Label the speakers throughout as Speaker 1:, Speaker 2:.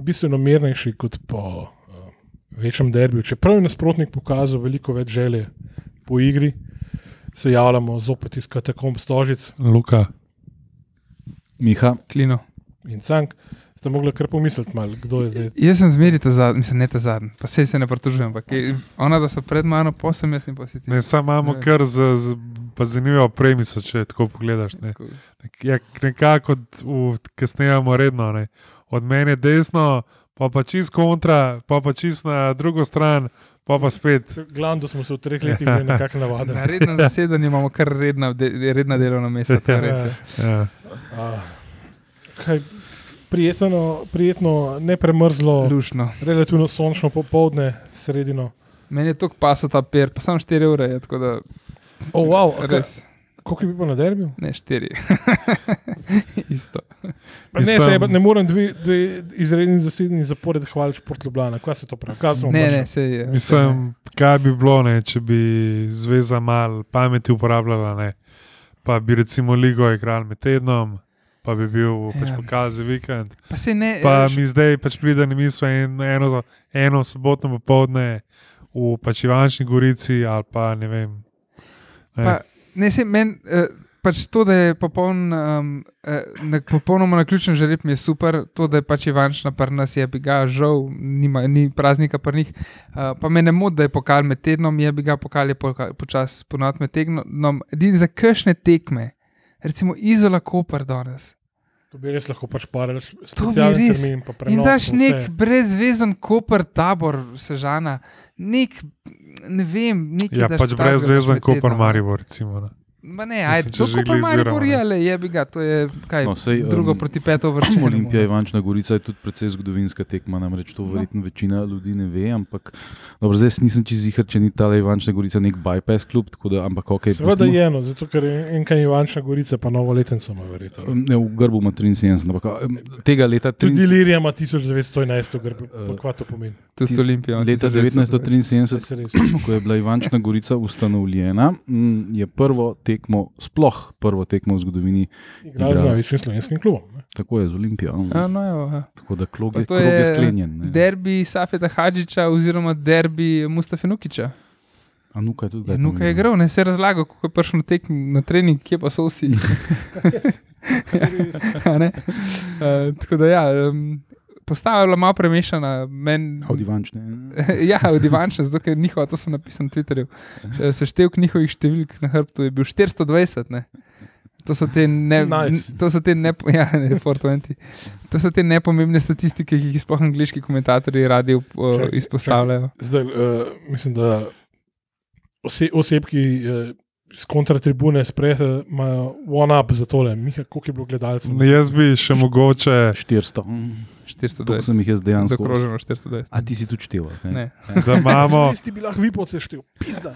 Speaker 1: bistveno mirnejši kot po uh, večjem derbiju. Čeprav je nasprotnik pokazal veliko več želje po igri, se javljamo zopet iz katakomb Stožic
Speaker 2: Luka,
Speaker 3: Miha,
Speaker 4: Klino.
Speaker 1: in Cank. Ste mogli kar pomisliti, mal, kdo je zdaj.
Speaker 4: Jaz sem zmeri ta zadnji, mislim, ne ta zadnji, pa sej se ne pritožujem, ampak je- ona, da so pred mano, posem jaz in positi.
Speaker 2: ne, samo imamo
Speaker 4: Ne.
Speaker 2: kar z, z, pa zanimivo premiso, če tako pogledaš. Ne. Nek- Ja, nekako od- v- kasneje imamo redno, ne. od mene desno, pa pa čist kontra, pa pa čist na drugo stran, pa pa spet.
Speaker 1: Glavno, da smo se v treh letih že nekako
Speaker 4: Na
Speaker 1: navadili.
Speaker 4: rednem zasedanju imamo kar redna, de, redna delovna mesta, to je res. je.
Speaker 2: Ja.
Speaker 1: Uh, kaj, prijetno, prijetno, ne
Speaker 2: Ja.
Speaker 1: premrzlo,
Speaker 4: Lušno.
Speaker 1: relativno sončno popovdne, sredino.
Speaker 4: Meni je tok paso ta per, pa samo 4 ure, je, tako da
Speaker 1: Oh, wow, a kaj-
Speaker 4: res,
Speaker 1: Koliko je bilo na derbiju?
Speaker 4: ne 4. Isto.
Speaker 1: Ne,
Speaker 2: Mislim-
Speaker 1: sem... ne morem dve, dve izredni zasedeni zapored hvaliti Port Ljubljana. Kaj se to pravi? Kaj smo
Speaker 4: Ne,
Speaker 1: pač-
Speaker 4: ne, se je.
Speaker 2: Mislim, kaj bi bilo, ne, če bi zveza mal pameti uporabljala, ne. pa bi recimo ligo igrali med tednom, pa bi bil pač
Speaker 4: Ja.
Speaker 2: pokal za vikend.
Speaker 4: Pa se ne,
Speaker 2: Pa
Speaker 4: eh,
Speaker 2: mi zdaj pač pride na misel en, eno, eno sobotno popovdne v pač Ivančni Gorici ali pa ne vem. Ne.
Speaker 4: Pa, ne, se meni, uh, pač to, da je popoln, um, uh, na, popolnoma naključen žreb, mi je super, to, da je pač Ivančna prnas, je bi ga žal, nima, ni praznika prnih. Uh, pa me ne moti, da je pokal med tednom, je bi ga pokal je poka- počasi ponad med tednom. Edini za kakšne tekme, recimo Izola Koper danes.
Speaker 1: To bi res lahko pač paril s-
Speaker 4: To bi
Speaker 1: specialni
Speaker 4: res.
Speaker 1: termin. Pa
Speaker 4: In
Speaker 1: prenos,
Speaker 4: daš
Speaker 1: pa vse.
Speaker 4: nek brezvezen koper tabor, sežana, nek, ne vem, nek.
Speaker 2: ja, pač brez vezen, kot pa Maribor. Recimo, ne.
Speaker 4: Ma ne,
Speaker 2: Mislim,
Speaker 4: ajde,
Speaker 2: če
Speaker 4: to
Speaker 2: že
Speaker 4: je pa
Speaker 2: glih zbiramo,
Speaker 4: Maribor,
Speaker 2: ne.
Speaker 4: ali je bi ga, to je kaj.
Speaker 3: No,
Speaker 4: No,
Speaker 3: sej,
Speaker 4: sej,
Speaker 3: em,
Speaker 4: drugo um, proti peto vrčemo.
Speaker 3: Olimpija, Ivančna Gorica je tudi precej zgodovinska tekma, namreč to
Speaker 4: No.
Speaker 3: verjetno večina ljudi ne ve, ampak dobro, zdaj jaz nisem čez jih, če ni ta Ivančna Gorica nek bypass klub, tako da, ampak ok.
Speaker 1: Seveda
Speaker 3: pustimo.
Speaker 1: je eno, zato ker je enka Ivančna Gorica, pa novo letnico ima verjetno.
Speaker 3: Ne, v grbu ima 73, ampak em, tega leta
Speaker 1: Tudi
Speaker 3: 73.
Speaker 1: Ilirija ima 1911, grb,
Speaker 3: Eh,
Speaker 1: kaj to pomeni.
Speaker 4: Tudi Olimpija.
Speaker 3: Leta 1973
Speaker 1: Saj se res.
Speaker 3: ko je bila Ivančna Gorica ustanovljena, m, je prvo tekmo, sploh prvo tekmo v zgodovini,
Speaker 1: Igra z
Speaker 3: Igra.
Speaker 1: največjim slovenskim klubom. ne.
Speaker 3: tako je z Olimpijo.
Speaker 4: Ja, no, evo, ja.
Speaker 3: Tako da klog
Speaker 4: Pa
Speaker 3: je,
Speaker 4: to
Speaker 3: krog je
Speaker 4: je
Speaker 3: sklenjen. ne.
Speaker 4: Derbi Safeta Hadžiča oziroma derbi Mustafa Nukiča.
Speaker 3: A Nuka je tudi kdaj
Speaker 4: Nuka je
Speaker 3: pomembna.
Speaker 4: igral, ne se je razlagal, kako je prišel na tekm na trening, kje pa so vsi. A ne? Eh, Tako da ja, em, postava je bila malo premešana. men-
Speaker 3: Od Ivančne.
Speaker 4: ja, od Ivanča, zato ker njihova, to sem napisal na Twitterju. eh, Seštevk njihovih številk na hrbtu je bil 420. Ne? To so te, ne,
Speaker 1: Nice.
Speaker 4: to so te, nepo, ja, ne, 420. To so te nepomembne statistike, ki jih sploh angliški komentatorji radi up, uh,
Speaker 1: Čakaj,
Speaker 4: izpostavljajo.
Speaker 1: Zdaj, uh, mislim, da ose, oseb, ki uh, z kontratribune sprejete, imajo one-up za tole. Miha, koliko je bilo gledalcev?
Speaker 2: Jaz bi še mogoče,
Speaker 3: 400. To
Speaker 4: 420.
Speaker 3: sem jih jaz dejansko.
Speaker 4: Zakroženo 420.
Speaker 3: A ti si tudi števal?
Speaker 4: Ne.
Speaker 2: da imamo,
Speaker 1: Tisti bi lahko vi podseštel, pizda.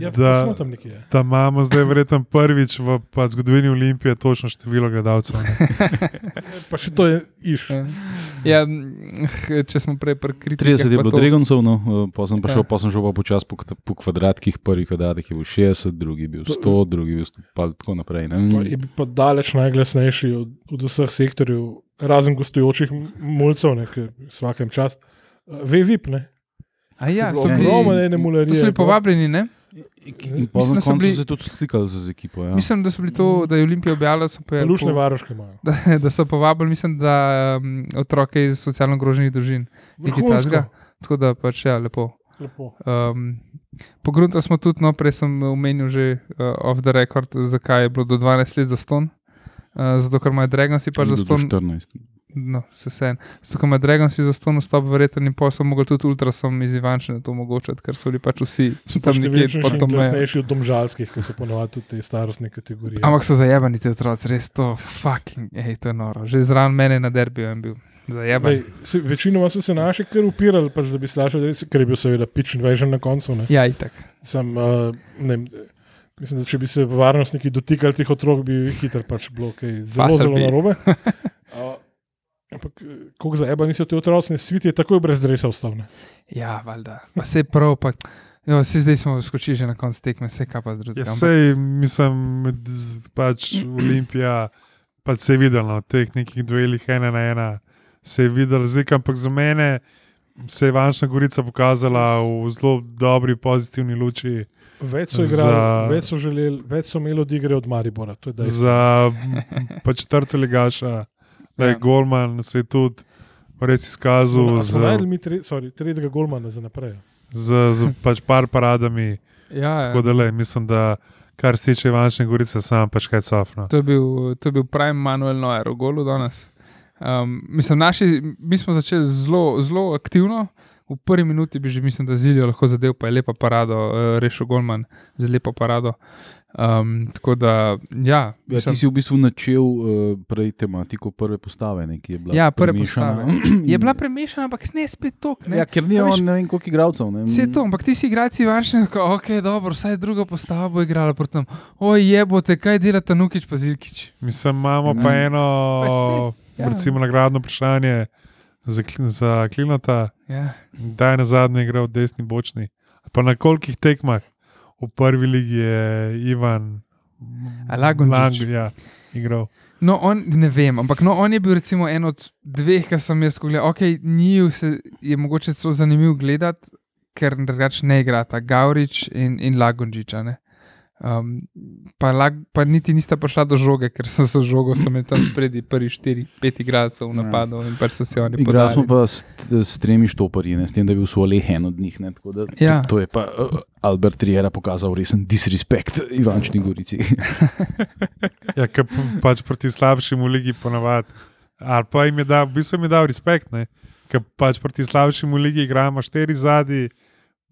Speaker 1: Ja,
Speaker 2: Da.
Speaker 1: da smo tam nekje.
Speaker 2: da imamo zdaj verjetno prvič v pa, zgodovini Olimpije točno število gledalcev. ne.
Speaker 1: Pa še to je iš.
Speaker 4: Ja. Ja, m, eh, če smo prej prikrili,
Speaker 3: 30 je bilo
Speaker 4: to,
Speaker 3: Dregoncov, no, pa sem prišel,
Speaker 4: Ja.
Speaker 3: pa sem šel pa počasi po, kta- po kvadratkih, prvi kvadratek je bil 60, drugi je bil 100, drugi je bil 100, pa tako naprej. ne.
Speaker 1: Pa je bil pa daleč najglasnejši od, od vseh sektorjev, razen gostujočih m- mulcev, ne, ki vsakem čast. Eh, Ve VIP, ne?
Speaker 4: A ja, so
Speaker 1: Bilo
Speaker 3: Ja,
Speaker 4: bili,
Speaker 1: Ogromno ene
Speaker 4: to so
Speaker 1: mularije.
Speaker 4: bili povabljeni, ne?
Speaker 3: In pa
Speaker 4: Mislim,
Speaker 3: na
Speaker 4: da so
Speaker 3: koncu
Speaker 4: bili-
Speaker 3: so se tudi slikali z ekipo. Ja.
Speaker 4: Mislim, da so bili to, da je Olimpija objavila, so pa
Speaker 1: Lušne varoške imajo.
Speaker 4: da, da so povabili, mislim, da um, otroke iz socialno ogroženih družin. Nekaj
Speaker 1: Vrhunsko.
Speaker 4: takega. Tako da pač ja, lepo.
Speaker 1: Lepo.
Speaker 4: Um, Pogrunta smo tudi, no, prej sem omenil že uh, off the record, zakaj je bilo do 12 let za ston. Uh, zato, ker imajo Dragonsi pač za ston.
Speaker 3: 14.
Speaker 4: No, se vseeno. Zato, ker ima Dragon si za ston vstop, verjetno in posel, mogli tudi ultrasom iz Ivančne to omogočati, ker so bili pač vsi tam eh, nekje pod to mejo.
Speaker 1: Najglasnejši od domžalskih, ki so ponovadi tudi te starostne kategorije.
Speaker 4: Ampak so zajebani ti otroci, res to, fucking, hej, to je noro. Že zraven mene na derbijo je bil. Zajeban.
Speaker 1: Lej, se, večinoma so se naši kar upirali, pač, da bi slišali, res, ker je bil seveda pičen vežen na koncu. Ne.
Speaker 4: Ja, itak.
Speaker 1: Sam, uh, ne, vem, mislim, da če bi se varnostniki dotikali teh otrok, bi hitro pač bilo kaj zelo,
Speaker 4: Fasal
Speaker 1: zelo
Speaker 4: bi.
Speaker 1: narobe. Uh, ampak eh, koliko za eba niso ti otroci, ne svit je takoj brez drevesa ustavne.
Speaker 4: Ja, valjda. Pa se je prav, pa jo, se zdaj smo skočili že na konc tekme, vse kaj pa
Speaker 2: Ja,
Speaker 4: drugega. ampak-
Speaker 2: sej, mislim, d- z- pač Olimpija, pač se je videla no, v teh nekih duelih ena na ena, se je videl razlika, ampak za mene se je Vančna Gorica pokazala v zelo dobri, pozitivni luči.
Speaker 1: Več so,
Speaker 2: Za-
Speaker 1: igral, za... več, so želeli, več so imeli od igre od Maribora. To je dejstvo.
Speaker 2: Za pač četrto ligaša, le
Speaker 4: Ja.
Speaker 2: ja. Golman se je tudi res izkazal
Speaker 1: A smo
Speaker 2: z,
Speaker 1: najdli mi tre, sorry, tretjega golmana za naprej.
Speaker 2: z, z pač par paradami.
Speaker 4: Ja,
Speaker 2: Tako
Speaker 4: ja.
Speaker 2: da le, mislim, da kar se tiče Vančne Gorice, sam pač kaj cofno.
Speaker 4: To, je bil, to je bil prime Manuel Noer v golu danes. Um, mislim, naši, mi smo začeli zelo, zelo aktivno. V prvi minuti bi že, mislim, da zilijo lahko zadev, pa je lepa parado, eh, rešil Golman z lepo parado. Um, tako da, ja,
Speaker 3: Ja, ti si v bistvu načel uh, prej tematiko prve postave, ne, ki je bila
Speaker 4: ja prve
Speaker 3: premešana.
Speaker 4: postave. Je bila premešana, ampak ne spet tok. Ne.
Speaker 3: Ja, ker ni
Speaker 4: A veš,
Speaker 3: on, ne vem, koliko igralcev. ne.
Speaker 4: Vse to, ampak ti si igrači vanjši, tako, ok, dobro, vsaj druga postava bo igrala proti nam. Oj, jebote, kaj delata Nukič pa Zilkič?
Speaker 2: Mislim, imamo
Speaker 3: Mhm.
Speaker 2: pa eno,
Speaker 4: Pač ja.
Speaker 2: ja. recimo, nagradno vprašanje za, Kli- za Klinota.
Speaker 4: Ja.
Speaker 2: Da je na zadnje igral desni bočni. Pa na kolikih tekmah v prvi ligi je Ivan
Speaker 4: A Lagundžič?
Speaker 2: ja, igral.
Speaker 4: No, on, ne vem, ampak no, on je bil recimo en od dveh, ki sem jaz gledal. Ok, njiju se je mogoče celo zanimiv gledati, ker drugače ne igrata Gavrič in, in Lagonžiča. Um, pa, lag, pa niti nista prišla do žoge, ker so se žogo so imeli tam spredi prvi štiri, pet igralcev v napadu in pač so si oni
Speaker 3: Igrali smo
Speaker 4: podali.
Speaker 3: pa s, s tremi štoparji, ne, s tem, da je bil Suoleh en od njih. Ne, tako da,
Speaker 4: Ja.
Speaker 3: to, to je pa uh, Albert Riera pokazal resen disrespekt Ivančni Gorici.
Speaker 2: Ja, ker p- pač proti slabšim v ligi ponavadi. Ali pa jim je dal, v bistvu jim je dal respekt, ne? ker pač proti slabšim v ligi igramo štiri zadnji,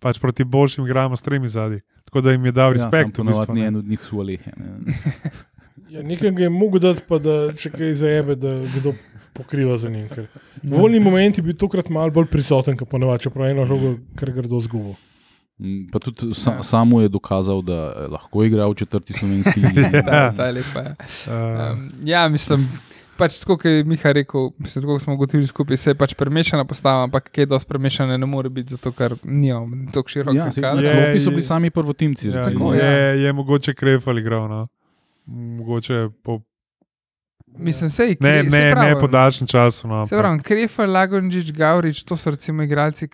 Speaker 2: pač proti boljšim igramo s tremi zadnji. Tako da jim je dal respekt.
Speaker 3: ja,
Speaker 2: v bistvu,
Speaker 3: ni
Speaker 2: ne.
Speaker 3: en od njih Suoleh. ne.
Speaker 1: Ja, nekaj ga je mogel dati, pa da če kaj zajebe, da kdo pokriva za njim. Ker voljni moment je bil tokrat malo bolj prisoten, kot ponovadi, čeprav eno žogo, ker grdo zgubo.
Speaker 3: Mm, Pa tudi sa, samo je dokazal, da eh, lahko igra v četrti slovenski ligi.
Speaker 4: Ta, ta je lepa. Ja.
Speaker 2: Eh,
Speaker 4: Um, ja, mislim, pač tako, kot je Miha rekel, mislim, tako kot smo ugotovili skupaj, se je pač premešana postava, ampak kaj dosti premešane ne more biti, zato ker nimamo tako široko
Speaker 3: Ja, se, na
Speaker 2: Je,
Speaker 3: klopi so
Speaker 2: je.
Speaker 3: bili sami prvotimci.
Speaker 2: Ja,
Speaker 3: recimo.
Speaker 4: Tako,
Speaker 2: je,
Speaker 4: ja.
Speaker 2: je mogoče krefal igral, no? mogoče po
Speaker 4: Mislim, sej,
Speaker 2: Ne,
Speaker 4: kre,
Speaker 2: ne, ne po daljšem času. No,
Speaker 4: Se
Speaker 2: ampak-
Speaker 4: pravi, Krefer, Lagonžič, Gavrič, to so recimo igralci,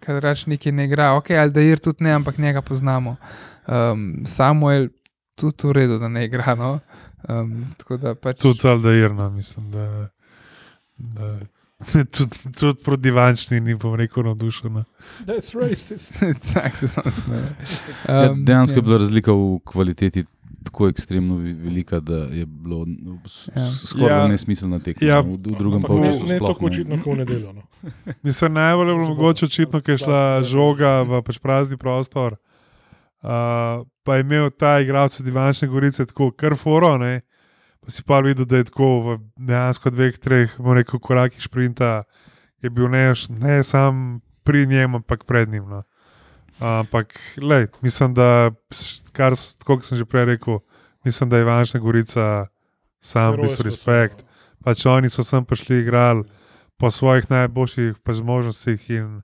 Speaker 4: ki rač neki ne igra. Ok, Aldair tudi ne, ampak njega poznamo. Um, Samuel, tudi v redu, da ne igra. No? Um, tako da pač.
Speaker 2: Tudi Aldairna, mislim, da, da tudi, tudi proti vančni ni bom rekel no. navdušena.
Speaker 1: That's racist.
Speaker 4: Tak se sam smeje.
Speaker 3: Ja,
Speaker 4: Um,
Speaker 3: dejansko je
Speaker 4: ja.
Speaker 3: bila razlika v kvaliteti tako ekstremno vi- velika, da je bilo no, s-
Speaker 4: Ja.
Speaker 3: s- skoraj
Speaker 2: Ja.
Speaker 3: ja. nesmiselna tekma.
Speaker 2: Ja.
Speaker 3: Ja. V, v drugem
Speaker 1: Ampak ne,
Speaker 3: polčasu
Speaker 1: ne
Speaker 3: sploh
Speaker 1: tako očitno, kot v nedeljo. No.
Speaker 2: Mislim, najbolj je bilo
Speaker 1: Zabav-
Speaker 2: mogoče očitno, ker je šla žoga v pač prazni prostor. Uh, pa je imel ta igralec od Ivančne Gorice tako kar foro, ne? pa si pa videl, da je tako v dejansko dveh, treh, bom rekel, korakih sprinta, je bil ne, š- ne sam pri njem, ampak pred njim. No. Ampak, lej, mislim, da, s- kar, s- tako kot sem že prej rekel, mislim, da je Ivančna Gorica
Speaker 3: Ah,
Speaker 2: sam v
Speaker 1: Heroje
Speaker 2: bistvu
Speaker 1: smo se,
Speaker 2: respekt
Speaker 1: no.
Speaker 2: pač oni so sem prišli igrali po svojih najboljših pač možnostih. In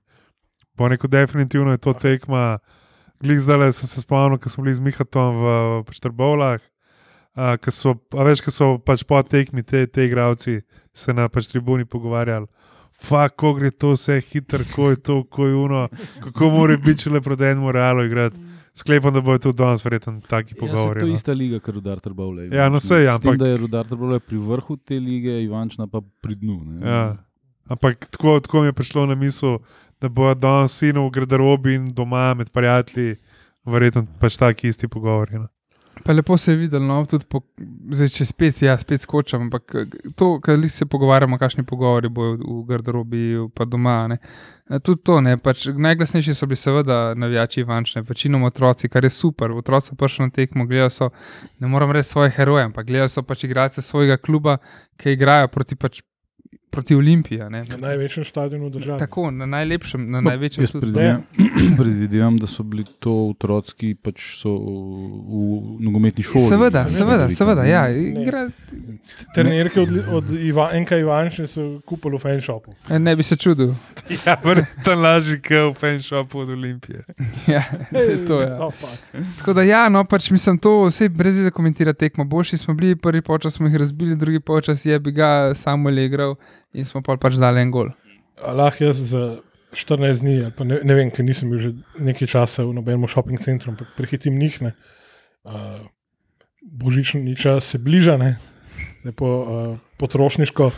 Speaker 2: po neko definitivno je to tekma. Glej, zdaj le sem se spomnil, ko smo bili z Mihatom v pač Trbovlah. Uh, ker so, a veš, ker so pač po tekmi te, te igravci se na pač tribuni pogovarjali. Fak, ko gre to vse hitro, ko je to, ko je uno, kako mora biti, če le proti enemu realu igrati. Sklepam, da bojo tudi danes verjetno taki
Speaker 3: Mm. Ja,
Speaker 2: pogovori.
Speaker 3: to je
Speaker 2: no.
Speaker 3: ista liga, kot Rudar Trbovle.
Speaker 2: Ja, no sej,
Speaker 3: S tem,
Speaker 2: ampak-
Speaker 3: da je Rudar Trbovle pri vrhu te lige, Ivančna pa pri dnu. ne.
Speaker 2: Ja. Ampak tako, tako mi je prišlo na misel, da bo danes sinu v garderobi in doma med prijatelji, verjetno pač taki isti pogovori. No.
Speaker 4: Pa lepo se je videl, no, tudi po, zdaj, če spet, ja, spet skočam, ampak eh, to, kar se pogovarjamo, kakšni pogovori bojo v garderobi, pa doma. Ne. Eh, Tudi to, ne, pač najglasnejši so bili seveda navijači vančne, večinoma otroci, kar je super. Otroci so prišli na tekmo, gledajo so, ne moram reči svoje heroje, ampak gledajo so pač igralce svojega kluba, ki igrajo proti, pač, proti Olimpiji. a Ne.
Speaker 1: Na največjem stadionu države.
Speaker 4: Tako, na najlepšem, na
Speaker 3: No,
Speaker 4: največjem
Speaker 3: Jaz
Speaker 4: tudi.
Speaker 3: predvidevam, predvidevam, da so bili to otroci, ki pač so v v nogometni šoli.
Speaker 4: Seveda,
Speaker 3: ne,
Speaker 4: seveda,
Speaker 3: Gorica,
Speaker 4: seveda,
Speaker 3: ne.
Speaker 4: ja,
Speaker 1: Ne.
Speaker 4: igra,
Speaker 1: Trenerke od, Li- od Iva, enka Ivančne so kupili v fanshopu.
Speaker 4: E, Ne bi se čudil.
Speaker 2: Ja, verjetno lažje, kot v fanshopu od Olimpije.
Speaker 4: Ja, saj to, ja.
Speaker 1: Oh, fuck.
Speaker 4: Tako da, ja, no, pač mislim, to vse brez izjeme komentira tekmo. Boljši smo bili, prvi počas smo jih razbili, drugi počas je bi ga samo le igral in smo pol pač dali en gol.
Speaker 1: A Lahko jaz za 14 dni, ali pa ne, ne vem, ker nisem bil že nekaj časa v nobenem šoping centru, ampak prehitim njih. Ne. Uh, božični čas se bliža, ne lepo uh, potrošniško.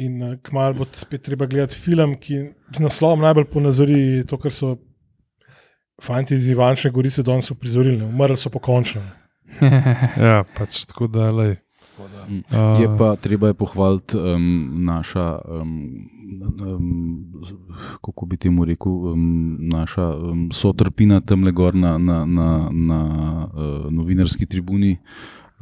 Speaker 1: In uh, kmalo bo spet treba gledati film, ki z naslovom najbolj ponazori to, kar so fanti iz Ivančne Gorice danes uprizorili. ne. Umrli so pokončno.
Speaker 2: Ja, pač tako dalej.
Speaker 3: Mm. Je
Speaker 2: Eh.
Speaker 3: pa treba je pohvaliti um, naša, um, um, kako bi temu rekel, um, naša um, sotrpina tam le gor na, na, na, na uh, novinarski tribuni.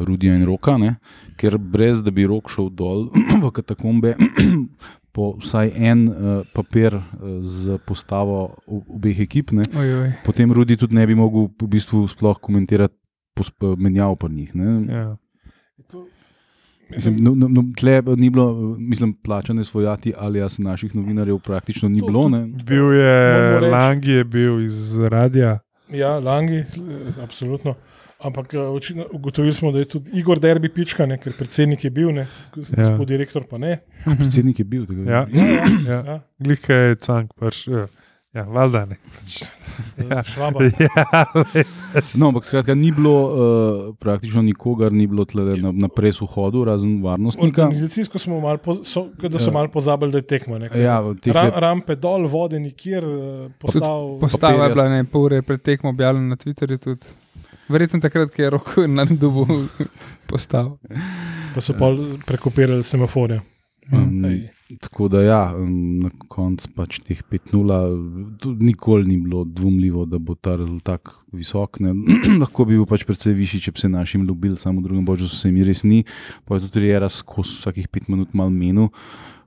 Speaker 3: Rudija in roka, ne? ker brez da bi rok šel dol v katakombe, po vsaj en uh, papir uh, z postavo o- obeh ekip, ne?
Speaker 4: Ojoj.
Speaker 3: potem Rudi tudi ne bi mogel v bistvu sploh komentirati posp- menjav po njih. Ne?
Speaker 2: Ja.
Speaker 3: Mislim, no, no, no, tle ni bilo, mislim, plačane svojati ali jaz naših novinarjev praktično ni
Speaker 1: To
Speaker 3: bilo.
Speaker 1: tudi-
Speaker 3: Ne?
Speaker 2: Bil je,
Speaker 1: Moramo reči-
Speaker 2: Langi je bil iz radia.
Speaker 1: Ja, Langi, eh, absolutno. Ampak eh, očitno ugotovili smo, da je tudi Igor Derbi pička, ne, ker predsednik je bil, ne,
Speaker 2: Ja.
Speaker 1: gospod direktor pa ne.
Speaker 3: Predsednik je bil tega.
Speaker 2: Ja,
Speaker 1: Ja, ja,
Speaker 2: ja.
Speaker 1: ja.
Speaker 2: Glika je cank, pač. Ja, ja valjda ne. Pač.
Speaker 1: Ja. Švaba.
Speaker 2: Ja, lej.
Speaker 3: No, ampak skratka, ni bilo uh, praktično nikogar, ni bilo tle na, na presu hodu, razen varnostnika.
Speaker 1: Organizacijsko smo malo, po, so, kot da so
Speaker 3: Ja.
Speaker 1: ja. malo pozabili, da je tekmo. Ne, ker
Speaker 3: Ja, teh
Speaker 1: Ra,
Speaker 3: je
Speaker 1: rampe dol, vode nikjer, eh, postav.
Speaker 4: Postava je
Speaker 3: Papirja-
Speaker 4: bila ne pol ure pred tekmo objavljena na Twitterju tudi. Verjetno takrat, ko je rok na dubu postal.
Speaker 1: Pa so pol prekopirali semaforje.
Speaker 4: Hm,
Speaker 3: Um,
Speaker 1: Ej.
Speaker 3: Tako da, ja, um, na koncu pač teh 5-0, tudi nikoli ni bilo dvomljivo, da bo ta rezultat visok. Ne. Lahko bi bil pač precej višji, če bi se našim ljubili, samo v drugem božju se mi res ni. Pa je tudi Rejera skozi vsakih 5 minut mal menu.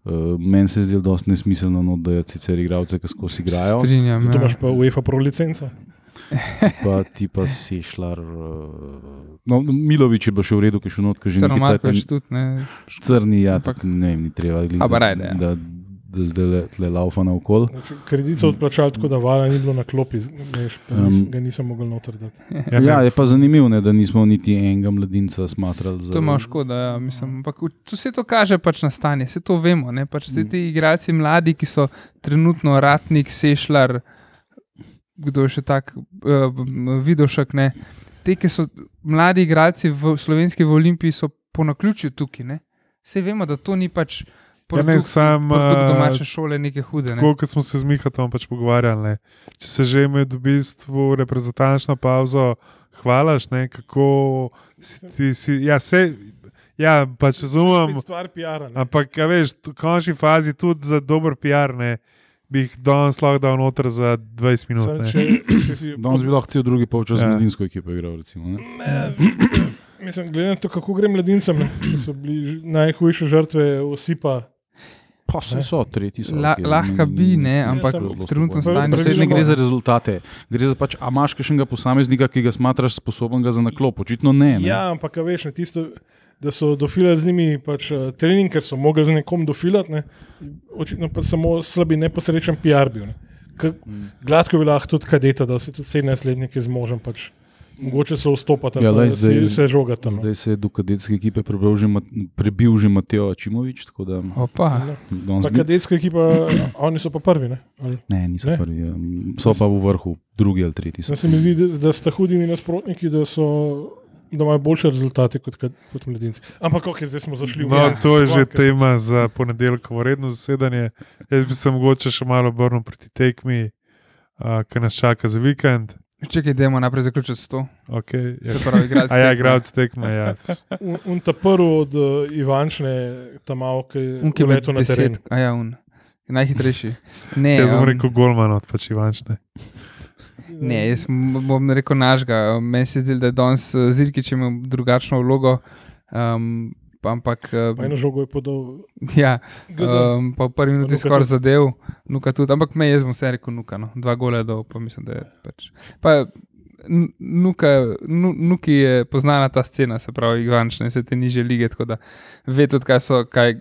Speaker 3: Uh, meni se je zdelo dosti nesmiselno, no, da je sicer igralce, ki skozi igrajo,
Speaker 4: Strinjam.
Speaker 1: Zato
Speaker 4: Ja.
Speaker 1: imaš pa UEFA pro licenco.
Speaker 3: pa ti pa sešlar. Uh, no, Milovič je bil še v redu, ki je šel not, ki že
Speaker 4: Crno
Speaker 3: nekaj
Speaker 4: Markovič
Speaker 3: časa
Speaker 4: tudi, ne.
Speaker 3: crni, ja, ampak
Speaker 4: Ampak-
Speaker 3: ne vem, ni treba
Speaker 4: A, pa
Speaker 3: gledati,
Speaker 4: rajde, ja.
Speaker 3: da, da zdaj le laufa na okol.
Speaker 1: Znači, kredit so odplačali tako, da vala ni bilo na klopi, z- veš, pa nis,
Speaker 3: Um.
Speaker 1: ga nisem mogel noter dati.
Speaker 2: Ja,
Speaker 3: Ja,
Speaker 2: ne.
Speaker 3: je pa zanimivo, ne, da nismo niti enega mladinca smatrali za
Speaker 4: To je malo škoda, ja, mislim. Ampak v- to vse to kaže pač na stanje, vse to vemo. ne, Pač
Speaker 2: Mm.
Speaker 4: vsi ti igrači mladi, ki so trenutno ratnik, sešljar, kdo je še tak, uh, vidošek. Ne? Te, ki so mladi igrači v slovenski v Olimpiji, so po naključju tukaj. Ne? Vse vemo, da to ni pač produkt,
Speaker 2: Ja, ne, sam,
Speaker 4: produkt
Speaker 2: eh,
Speaker 4: domače šole, neke hude. Ne?
Speaker 2: Tako kot smo se z Mihatom pač pogovarjali, ne. če se že med v bistvu reprezentančno pauzo hvalaš, ne, kako si ti. Si, ja, se, ja, pač razumem.
Speaker 1: Spet Stvar PR-a. ne.
Speaker 2: Ampak, a veš, v končni fazi tudi za dober PR ne bi jih danes lahko dal noter za 20 minut.
Speaker 1: Samo
Speaker 2: ne.
Speaker 1: če- če si-
Speaker 3: Danes bi lahko cel drugi polčas
Speaker 2: Ja.
Speaker 3: ja. mladinsko ekipo igral. Recimo, ne.
Speaker 1: Mislim, glede na to, kako gre mladincem, ne, ki so bili najhujše žrtve osipa.
Speaker 3: pa se so, tretji so.
Speaker 4: La,
Speaker 3: okej,
Speaker 4: lahko bi, ne,
Speaker 1: Ja,
Speaker 4: ampak
Speaker 1: samo
Speaker 4: v trenutnem
Speaker 1: slabo.
Speaker 4: stanju.
Speaker 1: Preveč
Speaker 3: Preveč ne
Speaker 1: Praviloma.
Speaker 3: gre za rezultate, gre za pač, a imaš kakšnega posameznika, ki ga smatraš sposobnega za naklop, očitno ne. ne.
Speaker 1: Ja, ampak a veš, ne, tisto, da so dofilali z njimi pač, eh, trening, ker so mogli z nekom dofilati, ne, očitno pa samo slabi, neposrečen PR bil. Ne. K, gladko bi lahko tudi kadeta, da se tudi 17-letniki zmožen. Pač. Mogoče so vstopati, ja,
Speaker 3: Ja, lej,
Speaker 1: da
Speaker 3: zdaj-
Speaker 1: se, se žogata. No.
Speaker 3: Zdaj se je do kadetske ekipe prebral že Mat- prebil že Mateo Čimovič.
Speaker 4: Opa,
Speaker 2: Ja.
Speaker 1: Pa kadetska ekipa, oni so pa prvi. Ne, Ali-
Speaker 3: Ne, niso
Speaker 1: Ne.
Speaker 3: prvi, ja. so pa v vrhu, drugi ali tretji. So.
Speaker 1: Zdaj se mi zdi, da, da sta hudimi nasprotniki, da, so, da imajo boljše rezultate kot, kad- kot mladinci. Ampak, ok, zdaj smo zašli v
Speaker 2: No,
Speaker 1: mladinske
Speaker 2: to je že
Speaker 1: pogovore.
Speaker 2: tema za ponedeljkovo redno zasedanje. Jaz bi se mogoče še malo obrnil proti tekmi, uh, ki nas čaka za vikend.
Speaker 4: čekaj, dajmo najprej zaključiti s to.
Speaker 2: Okay, ja.
Speaker 4: Se pravi, igralci.
Speaker 2: A ja,
Speaker 4: tekme.
Speaker 2: igralec tekme. Ja.
Speaker 1: Un, un ta prvi od uh, Ivančne, tam malo, ki
Speaker 4: Un,
Speaker 1: je
Speaker 4: ki je
Speaker 1: letel na teren.
Speaker 4: A ja, un. Najhitrejši. Ne, um,
Speaker 2: Jaz sem
Speaker 4: em,
Speaker 2: rekel golman od pač Ivančne.
Speaker 4: Ne, jaz m- bom rekel našega. Um, Meni se zdi, da je danes eh, Zirkič imel drugačno vlogo. Um, ampak, eh,
Speaker 1: Pa Eno žogo je podal.
Speaker 4: ja,
Speaker 1: Gada.
Speaker 4: um, pa v prvi minuti
Speaker 1: Nuka
Speaker 4: skoraj
Speaker 1: tudi.
Speaker 4: zadev, nuka tudi. Ampak me jaz bom vse rekel, nuka. No. Dva gole do, pa mislim, da je pač. Pa, n- nuka, nu, nuki je poznana ta scena, se pravi, Ivančne, vse te nižje lige, tako da vedo, kaj so, kaj,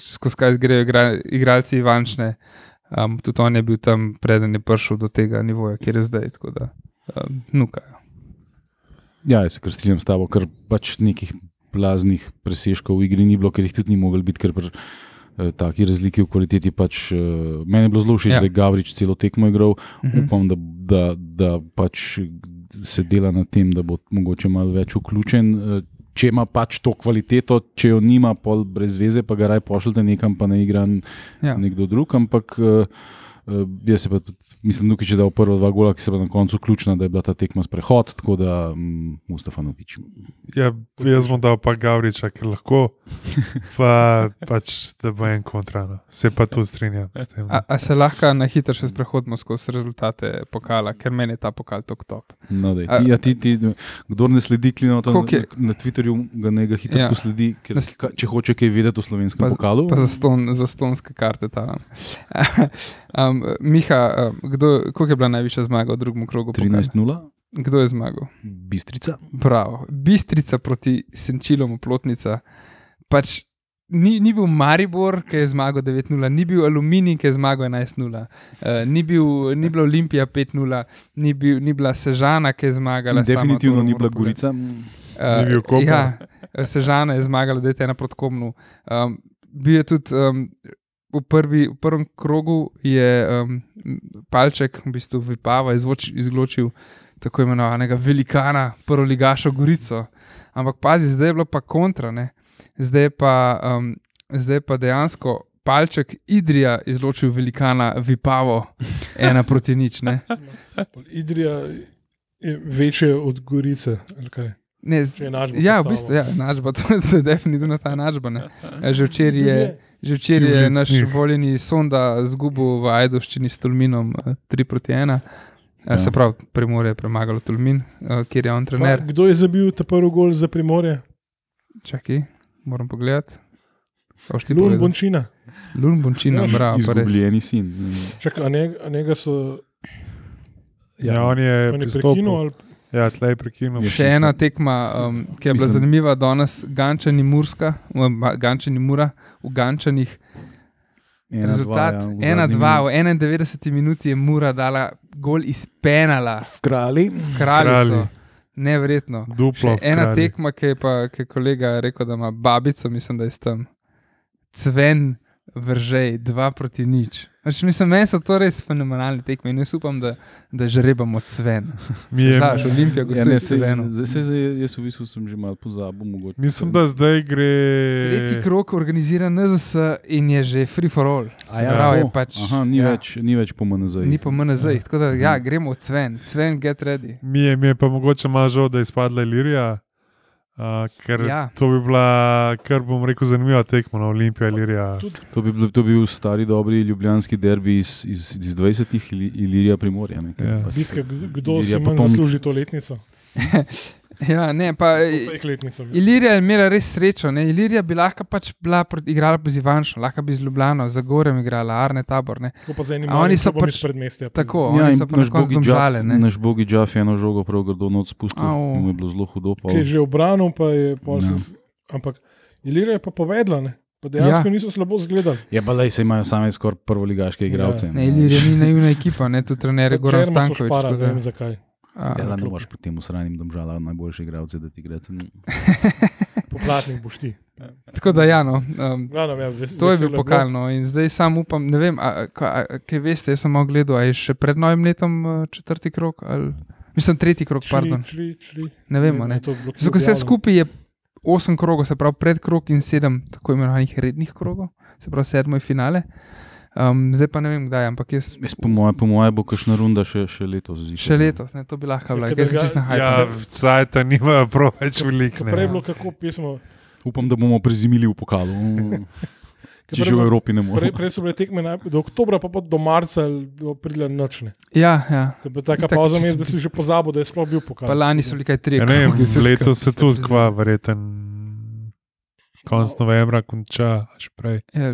Speaker 4: skozi kaj grejo igra, igralci Ivančne. Um, tudi on je bil tam, preden je prišel do tega nivoja, kjer je zdaj, tako da um, nukajo.
Speaker 3: Ja, jaz se kar strinjam s tabo, ker pač nekih blaznih preseškov v igri ni bilo, ker jih tudi ni mogel biti, ker pri eh, taki razliki v kvaliteti pač. Eh, meni je bilo zelo všeč,
Speaker 4: Ja.
Speaker 3: ja. da je Gavrič celo tekmo igral,
Speaker 4: Mhm.
Speaker 3: upam, da, da, da pač se dela na tem, da bo mogoče malo več vključen. eh, Če ima pač to kvaliteto, če jo nima, pol brez veze, pa ga raj pošljete nekam, pa ne igra ja.
Speaker 4: Ja.
Speaker 3: nekdo drug. Ampak eh, eh, jaz se pa tudi, mislim, Nukič je dal prva dva gola, ki se pa na koncu ključna, da je bila ta tekma sprehod, tako da mm, Mustafa Nukič.
Speaker 2: Ja, jaz bom dal pa Gavriča, ker lahko, pa pač da bo en kontra. no. Se pa tu strinjam s tem.
Speaker 4: A, a se lahko na hitro še sprehodimo skozi rezultate pokala, ker meni je ta pokal tako top.
Speaker 3: No, daj,
Speaker 4: A-
Speaker 3: ti, ja, ti, ti, kdor ne sledi klinota na,
Speaker 4: Koliko je-
Speaker 3: na- na Twitterju, ga ne ga hitro
Speaker 4: Ja.
Speaker 3: ja. posledi, ker,
Speaker 4: Nas-
Speaker 3: ka, če hoče kaj vedeti o slovenskem
Speaker 4: Pa z-
Speaker 3: pokalu.
Speaker 4: Pa za, ston, za stonske karte ta. um, Miha, um, kdo, koliko je bila najvišja zmaga v drugem krogu? pokala?
Speaker 3: 13-0,
Speaker 4: Kdo je zmagal?
Speaker 3: bistrica.
Speaker 4: Prav. Bistrica proti Senčilom, Plotnica. Pač ni, ni bil Maribor, ki je zmagal 9-0, ni bil Aluminij, ki je zmagal 11-0, uh, ni, bil- ni bila Olimpija 5-0, ni, bil, ni bila Sežana, ki je zmagala.
Speaker 3: In
Speaker 4: sama,
Speaker 3: Definitivno
Speaker 4: to
Speaker 3: ni
Speaker 4: moram
Speaker 3: bila
Speaker 4: povedati.
Speaker 3: Gorica.
Speaker 4: Eh,
Speaker 2: Ni bil Koper.
Speaker 4: Ja, Sežana je zmagala, da je ena proti Komnu. Um, bil je tudi um, v, prvi, v prvem krogu, je um, palček, v bistvu Vipava, izvoč, izločil tako imenovanega velikana, prvoligašo Gorico. Ampak pazi, zdaj je bilo pa kontra, ne? zdaj je pa, um, zdaj je pa dejansko. Palček Idrija izločil velikana Vipavo, ena proti nič. Ne? Eh.
Speaker 1: Idrija je večje od Gorice. ali kaj?
Speaker 4: Ne, z,
Speaker 1: Če enačbo
Speaker 4: ja, v
Speaker 1: postavimo.
Speaker 4: bistvu, ja, enačba, to, to je definitivno ta enačba. ne. E, Že včeraj je, že včeraj je
Speaker 2: Civiliznih.
Speaker 4: naš voljeni sonda zgubil v Ajdoščini s Tolminom eh, 3 proti 1. Ja.
Speaker 3: Ja.
Speaker 4: Se pravi, Primor je premagal Tolmin, eh, kjer je on
Speaker 1: Pa,
Speaker 4: trener.
Speaker 1: kdo je zabil ta prvi gol za primorje?
Speaker 4: Čakaj, moram pogledati. A boš ti
Speaker 1: Lun
Speaker 4: povedal?
Speaker 1: Bončina.
Speaker 4: Lun Bončina,
Speaker 1: Ja,
Speaker 4: bravo, torej. pa res.
Speaker 3: Izgubljeni sin.
Speaker 1: Čakaj, a ne- a njega so
Speaker 2: Ja, on je
Speaker 1: on je prekinil.
Speaker 2: pristopil.
Speaker 1: ali-
Speaker 2: Ja, tlej prekinil.
Speaker 3: Je
Speaker 4: Še
Speaker 3: šesta.
Speaker 4: ena tekma, um, ki je bila
Speaker 3: Mislim-
Speaker 4: zanimiva danes, Gančani, Murska, ma- Gančani Mura, v Gančanih.
Speaker 3: Ena,
Speaker 4: Rezultat
Speaker 3: dva, ja, v
Speaker 4: 1-2,
Speaker 3: zadnji
Speaker 4: v 91 minuti je Mura dala gol iz penala,
Speaker 3: minuti. Kralji.
Speaker 4: kralj.
Speaker 2: Kralji.
Speaker 4: Neverjetno.
Speaker 2: Duplo.
Speaker 4: Še ena
Speaker 2: vkrali.
Speaker 4: tekma, ki je pa ki je kolega rekel, da ima babico, mislim, da je tam cven, vržej, dva proti nič. Pač, mislim, meni so to res fenomenalne tekme in jaz upam, da, da že rebamo cven.
Speaker 2: Mi je,
Speaker 4: Znaš, Olimpija,
Speaker 3: Ja, ne,
Speaker 4: gostuje
Speaker 3: sej,
Speaker 4: cveno.
Speaker 3: zdaj, sej, zdaj, jaz v bistvu sem že malo pozabil. Mogoče.
Speaker 2: mislim, da zdaj gre.
Speaker 4: Tretji krok organizira NZS in je že free for all.
Speaker 3: A
Speaker 4: Se
Speaker 3: ja,
Speaker 4: pravi, je
Speaker 3: to.
Speaker 4: pač,
Speaker 3: Aha, ni,
Speaker 4: ja,
Speaker 3: ja. več, ni več po MNZ.
Speaker 4: Ni pa MNZ, tako da ja, gremo cven, cven, get ready.
Speaker 2: Mi je, mi je pa mogoče malo žal, da je izpadla Ilirija, uh, ker
Speaker 4: Ja.
Speaker 2: ja. to bi bila, kar bom rekel, zanimiva tekma na Olimpiji Ilirija.
Speaker 3: To bi bil, to bi bil stari dobri ljubljanski derbi iz, iz, iz 20-ih ili- Ilirija Primorja. Ne, ker
Speaker 2: Ja.
Speaker 3: pač-
Speaker 1: Bitka, kdo si
Speaker 3: Ilirija
Speaker 1: manj
Speaker 3: potomc.
Speaker 1: zasluži to letnico?
Speaker 4: Ja, ne, pa,
Speaker 1: Pek letnico. mislim.
Speaker 4: Ilirija je imela res srečo. Ne? Ilirija bi lahko pač bila proti- igrala z Ivanšom, lahko bi z Ljubljano, za Gorem igrala, Arne Tabor. Ne?
Speaker 1: Tako pa z enim
Speaker 4: A oni
Speaker 1: malim
Speaker 4: so
Speaker 1: klubom
Speaker 4: pač
Speaker 1: iz predmestja.
Speaker 4: Tako,
Speaker 3: Ja,
Speaker 4: oni
Speaker 3: in
Speaker 4: so pa na
Speaker 3: naš
Speaker 4: koncu
Speaker 3: bogi Džaf,
Speaker 4: domžale. ne.
Speaker 3: naš bogi Džaf je eno žogo prav grdo not spustil,
Speaker 4: Au.
Speaker 3: mu je bilo zelo hudo. Pa,
Speaker 1: ki je že obranil, pa je pol se
Speaker 3: Ja.
Speaker 1: z- Ampak Ilirija je pa povedala, ne? pa dejansko
Speaker 4: Ja.
Speaker 1: ja. niso slabo zgledali.
Speaker 3: je Ja, pa le, se imajo same skoraj prvoligaške igralce.
Speaker 1: Ja.
Speaker 4: Ne, Ilirija ni naivna ekipa, ne tu trener je
Speaker 1: Tudi
Speaker 4: Goran
Speaker 1: Čerma so
Speaker 4: Stankovič.
Speaker 1: šparali,
Speaker 4: tako
Speaker 1: ne
Speaker 4: da-
Speaker 1: vem zakaj.
Speaker 4: A,
Speaker 3: Ja, da ne moreš pri tem usranjem domžala najboljše igralce, da ti gre.
Speaker 1: Poplatnik boš ti.
Speaker 4: Tako da, ja, no, um,
Speaker 1: Glavno, ja, ves,
Speaker 4: to je
Speaker 1: veselo
Speaker 4: bil pokalno in zdaj sam upam, ne vem, a- a- ka- a- kaj veste, jaz sem malo gledal, a je še pred novim letom eh, četrti krok ali mislim tretji krok, pardon,
Speaker 1: Čli, čli, čli.
Speaker 4: ne vemo. Ne. Zato, ker vse skupaj je 8 krogov, se pravi pred krog in 7 tako imenovanih rednih krogov, se pravi sedmo je finale. Um, zdaj pa ne vem kdaj, ampak jaz
Speaker 3: Jaz, po mojem, po moje bo kakšna runda še, še letos. Zdi,
Speaker 4: še letos, ne, to bi lahko bila,
Speaker 1: Ja,
Speaker 4: ker sem
Speaker 1: kadar ga-
Speaker 4: čest na
Speaker 2: Ja,
Speaker 4: hajdu.
Speaker 2: vsajta nimajo prav več veliko.
Speaker 3: Ja.
Speaker 1: Prej je bilo
Speaker 2: ne.
Speaker 1: kako pismo.
Speaker 3: Upam, da bomo prezimili v pokalu. Mm.
Speaker 1: ke
Speaker 3: Če
Speaker 1: prej
Speaker 3: že v
Speaker 1: bilo-
Speaker 3: Evropi ne
Speaker 1: Prej,
Speaker 3: moremo.
Speaker 1: prej so bile tekme naj- do oktobra, pa, pa do marca ali do pridla nočne.
Speaker 4: Ja, ja.
Speaker 1: To je bila taka
Speaker 4: Itak,
Speaker 1: pauza,
Speaker 4: če
Speaker 1: mes,
Speaker 4: si-
Speaker 1: da si že pozabil, da je sploh bil pokal.
Speaker 4: Pa lani so bili kaj tri.
Speaker 2: Ja, ne,
Speaker 4: krogi, vse
Speaker 2: letos
Speaker 4: skupaj,
Speaker 2: se
Speaker 4: to je
Speaker 2: tudi
Speaker 4: brez
Speaker 2: kva,
Speaker 4: veze.
Speaker 2: verjeten. konc novembra konča, a še prej.
Speaker 4: Ja,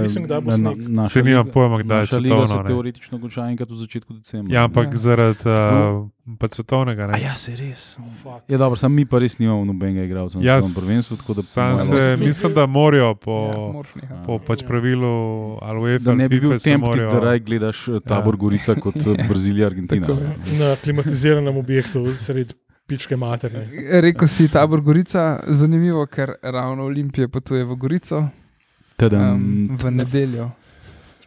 Speaker 1: Mislim, da bo sneg.
Speaker 2: Se nimam pojma, kdaj je
Speaker 3: naša
Speaker 2: svetovno,
Speaker 3: liga se
Speaker 2: ne.
Speaker 3: teoretično konča enkrat v začetku decembra.
Speaker 2: Ja, ampak
Speaker 4: Ja.
Speaker 2: ja. zaradi uh, pa svetovnega.
Speaker 3: A
Speaker 2: Ne.
Speaker 3: ja, se res.
Speaker 1: Fuck.
Speaker 3: Ja, dobro, sam mi pa res nimamo nobenega igralca na
Speaker 2: Ja,
Speaker 3: svetovnem prvenstvu, tako da
Speaker 2: sam
Speaker 3: malo-
Speaker 2: se, mislim, da morajo po,
Speaker 4: ja,
Speaker 2: ja,
Speaker 4: moraš nehati.
Speaker 2: po pač
Speaker 1: Ja.
Speaker 2: pravilu ali UEFA,
Speaker 3: Da ne bi
Speaker 2: ali
Speaker 3: bil
Speaker 2: FIFA,
Speaker 3: temp,
Speaker 2: morajo.
Speaker 3: da raj gledaš eh, tabor
Speaker 2: Ja.
Speaker 3: Gorica kot eh, Brazilija, Argentina.
Speaker 4: Tako.
Speaker 1: Na klimatiziranem objektu sredi pičke materne.
Speaker 4: Rekel si tabor Gorica, zanimivo, ker ravno Olimpija potuje v Gorico um,
Speaker 3: Tadam.
Speaker 1: Ja.
Speaker 4: v nedeljo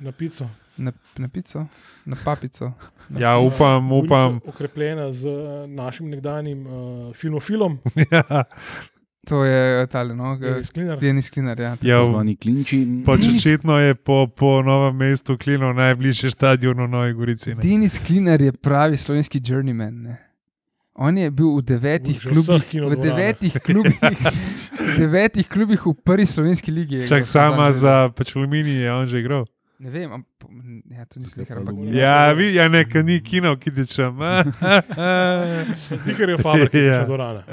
Speaker 1: Na pico.
Speaker 4: na, na pico, na papico. Na
Speaker 2: Ja, upam, upam.
Speaker 1: Ulica Okrepljena z eh, našim nekdanjim uh, filmofilom,
Speaker 2: Ja,
Speaker 4: To je tale, no,
Speaker 1: ki je sklinar.
Speaker 4: Denis Klinar. Ja,
Speaker 2: ja, v-
Speaker 3: Zvani klinči. Mm.
Speaker 2: pač očitno je po, po novem mestu klino najbližje stadionu v Novi Gorici. Ne.
Speaker 4: Denis Klinar je pravi slovenski journeyman. Ne? On je bil v devetih
Speaker 1: Že v
Speaker 4: klubih,
Speaker 1: vseh
Speaker 4: v
Speaker 1: kinodvoranah.
Speaker 4: devetih klubih, v devetih klubih v prvi slovenski ligi. je
Speaker 2: Čak
Speaker 4: igral sezone.
Speaker 2: sama za pač aluminij je on že igral.
Speaker 4: Ne vem, ampak ja, to nisem slišal.
Speaker 3: Aluminij.
Speaker 2: Ja, vi, ja ne, ker ni kino, ki tiče.
Speaker 1: Zikar je fabrik, ki
Speaker 2: Ja.
Speaker 1: je No. dorana.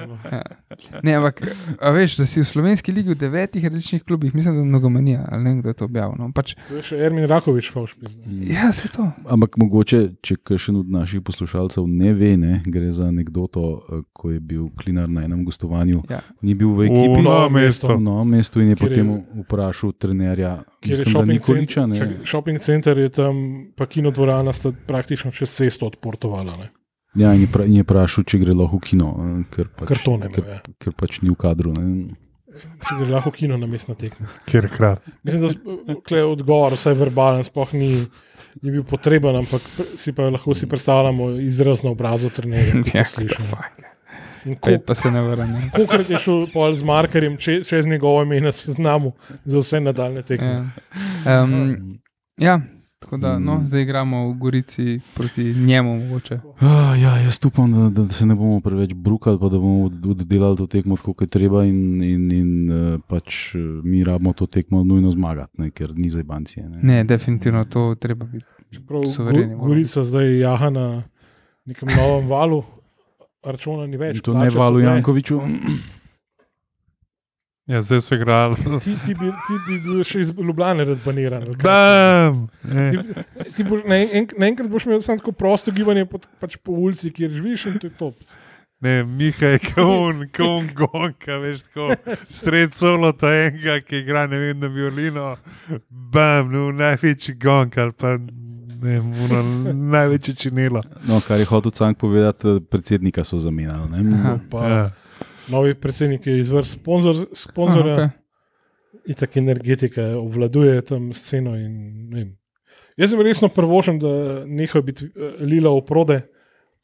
Speaker 4: Ne, ampak a veš, da si v slovenski ligi v devetih različnih klubih, mislim, da je mnogomanija ali nekdo je to objavil. No, pač,
Speaker 1: To je še Ermin Rakovič, pa už pizna.
Speaker 3: Mm.
Speaker 4: ja, se to.
Speaker 3: Ampak mogoče, če kakšen od naših poslušalcev ne ve, ne, gre za anegdoto, eh, ko je bil Klinar na enem gostovanju,
Speaker 4: Ja.
Speaker 3: ni bil
Speaker 2: V
Speaker 3: v ekipi.
Speaker 2: novem mestu.
Speaker 3: v novem mestu in je
Speaker 1: Kjer je-
Speaker 3: potem vprašal trenerja,
Speaker 1: Kjer je
Speaker 3: mislim, da
Speaker 1: shopping
Speaker 3: Nikoliča. ne.
Speaker 1: center, čak, shopping center je tam, pa kinodvorana sta praktično čez cesto odportovala. Ne?
Speaker 3: Ja, in je pra- in je vprašal, če gre lahko v kino, eh, ker pač,
Speaker 1: Kartone,
Speaker 3: ker,
Speaker 1: ja.
Speaker 3: ker pač ni v kadru. Ne.
Speaker 1: Če gre lahko kino na mestna tekma.
Speaker 2: Kjer krat.
Speaker 1: Mislim, da s- tule odgovor, vsaj verbalen, sploh ni, ni bil potreben, ampak pr- si pa lahko si predstavljamo izraz na obrazu trenerja. ki to
Speaker 4: Ja,
Speaker 1: sliši, ne. In ko-
Speaker 4: Pet pa se ne vrne.
Speaker 1: Kolikrat je šel pol z markerjem, če, čez njegovo ime na seznamu za vse nadaljne tekme.
Speaker 4: Ja. Um, ja, tako da no,
Speaker 2: Mm.
Speaker 4: zdaj igramo v Gorici proti njemu, mogoče.
Speaker 3: Ah, ja, jaz upam, da, da, da se ne bomo preveč brukali, pa da bomo od- oddelali to tekmo, kot je treba, in, in, in eh, pač eh, mi rabimo to tekmo nujno zmagati, ne, ker ni za bancije.
Speaker 4: Ne, definitivno to treba biti.
Speaker 1: Čeprav
Speaker 4: Suvereni
Speaker 1: Go-
Speaker 4: moramo
Speaker 1: Gorica zdaj jaha na nekem novem valu, računa ni več.
Speaker 3: In to ne
Speaker 1: plače so
Speaker 3: valu
Speaker 1: bile.
Speaker 3: Jankoviču.
Speaker 2: Ja, zdaj so igrali.
Speaker 1: Ti, ti, bi, ti bi bil še iz Ljubljana razbaniran. ali kaj?
Speaker 2: Bam! Eh.
Speaker 1: Ti- ti boš- na en- en- Naenkrat boš imel samo tako prosto gibanje pod, pač po ulici, kjer živiš in to je top.
Speaker 2: Ne, Miha je kaun, kaun gonka, veš, tako sred solo ta enega, ki igra, ne vem, na violino, bam, no, največji gong ali pa ne, uno, največje činelo.
Speaker 3: No, kar je hotel Cank povedati, eh, predsednika so zamenjali.
Speaker 4: Aha.
Speaker 3: Ne.
Speaker 1: Pa, ja.
Speaker 2: Ja.
Speaker 1: Novi predsednik je izvrst sponzor, sponzorja.
Speaker 4: Aha,
Speaker 1: in tako energetika obvladuje tam sceno. In, ne vem. Jaz sem resno prvošen, da nehajo biti eh, lila oprode,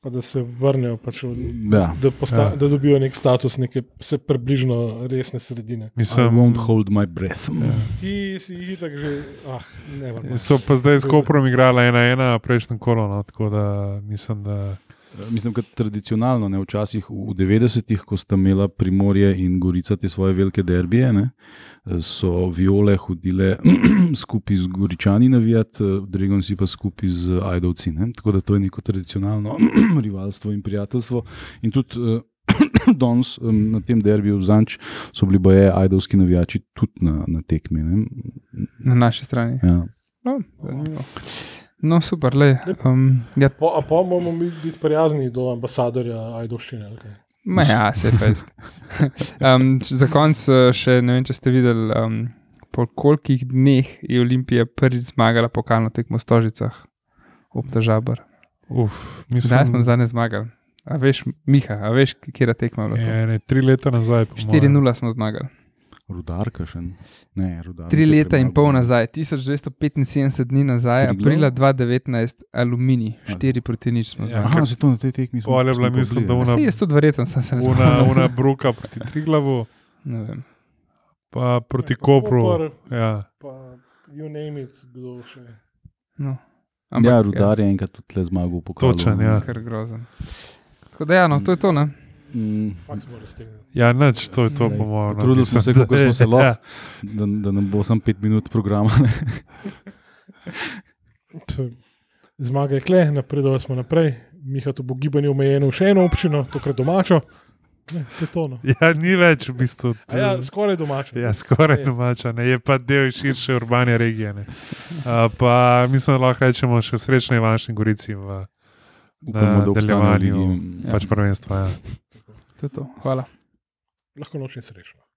Speaker 1: pa da se vrnejo, pač, v-
Speaker 3: Ja.
Speaker 1: da, posta,
Speaker 2: Ja.
Speaker 1: ja. da dobijo nek status, neke se približno resne sredine.
Speaker 3: I
Speaker 2: Mislim,
Speaker 3: won't hold my breath.
Speaker 1: Ti si jih tako že, ah, ne vem.
Speaker 2: so pa zdaj s Koprom igrala ena ena prejšnjo kolono, tako da mislim, da
Speaker 3: Eh, Mislim, da tradicionalno, ne, včasih v 90-ih, ko sta imela Primorje in Gorica te svoje velike derbije, ne, eh, so viole hodile skupaj z Goričani navijat, eh, Dragon si pa skupaj z Ajdovci. Ne. Tako da to je neko tradicionalno rivalstvo in prijateljstvo. In tudi eh, danes eh, na tem derbiju v Zanč so bili boje ajdovski navijači tudi na, na tekmi. Ne.
Speaker 4: na naši strani.
Speaker 3: Ja.
Speaker 4: No, zanimivo. no super, le. Um, ja,
Speaker 1: Po, a pa moramo mi biti prijazni do ambasadorja Ajdoščine. ali kaj?
Speaker 4: ma ja, se fest. Um, č- za konec eh, še ne vem, če ste videli, um, po kolikih dneh je Olimpija prvič zmagala pokalno tekmo v Stožicah, obtažabr.
Speaker 2: uf,
Speaker 4: Zdaj smo
Speaker 2: mislim,
Speaker 4: zadnje zmagali. A veš, Miha, a veš, kje je tekma?
Speaker 2: je, ne, tri leta nazaj. po moje.
Speaker 4: 4-0 smo zmagali.
Speaker 3: Rudarka še ne. Rudar
Speaker 4: Tri leta in
Speaker 3: Ja.
Speaker 4: pol nazaj, 1275 dni nazaj,
Speaker 3: Triglav?
Speaker 4: aprila 2019, aluminij, 4 proti nič smo
Speaker 2: Ja.
Speaker 4: zmagali.
Speaker 3: Aha, zato na tej tekmi smo.
Speaker 2: Pol je
Speaker 3: smo
Speaker 2: bila,
Speaker 3: pa
Speaker 2: mislim,
Speaker 3: bili, ja.
Speaker 2: da
Speaker 3: ne.
Speaker 2: ona,
Speaker 4: Saj jaz tudi verjetno sem se ne
Speaker 2: ona,
Speaker 4: spomnil.
Speaker 2: ona bruka proti Triglavu,
Speaker 4: Ne vem.
Speaker 2: pa proti Kopru.
Speaker 1: Koper,
Speaker 2: Ja.
Speaker 1: Pa, you name it, kdo še.
Speaker 4: No.
Speaker 3: Ja, rudar je enkrat tudi le zmagal po koncu.
Speaker 2: Točen, ja.
Speaker 4: Ja, kar grozen. Tako da, ja, no, to je to. Ne?
Speaker 3: Mm,
Speaker 1: Faks mora raztegniti.
Speaker 2: Ja, nič, to je to, po mojem. no,
Speaker 3: Trudili smo se,
Speaker 2: mislim,
Speaker 3: kako
Speaker 2: da-
Speaker 3: smo se
Speaker 2: Ja.
Speaker 3: lahko, da, da nam bo samo pet minut programa. ne.
Speaker 1: T- Zmaga je kle, napredovali smo naprej. Miha, to bo gibanje omejeno v še eno občino, tokrat domačo, Ne, to je to. No.
Speaker 2: Ja, ni več v bistvu.
Speaker 1: A Ja, skoraj domače.
Speaker 2: Ja, skoraj
Speaker 1: Ej.
Speaker 2: domača, ne? je pa del širše urbane regije. Ne? A, pa mislim, da lahko rečemo še srečne Ivanšni Gorici v
Speaker 3: Upamo, da
Speaker 2: no.
Speaker 3: obstanejo
Speaker 2: nadaljevanju
Speaker 3: ligi.
Speaker 2: pač prvenstva. Ja.
Speaker 4: To je to. Hvala.
Speaker 1: Lahko nočem srečno.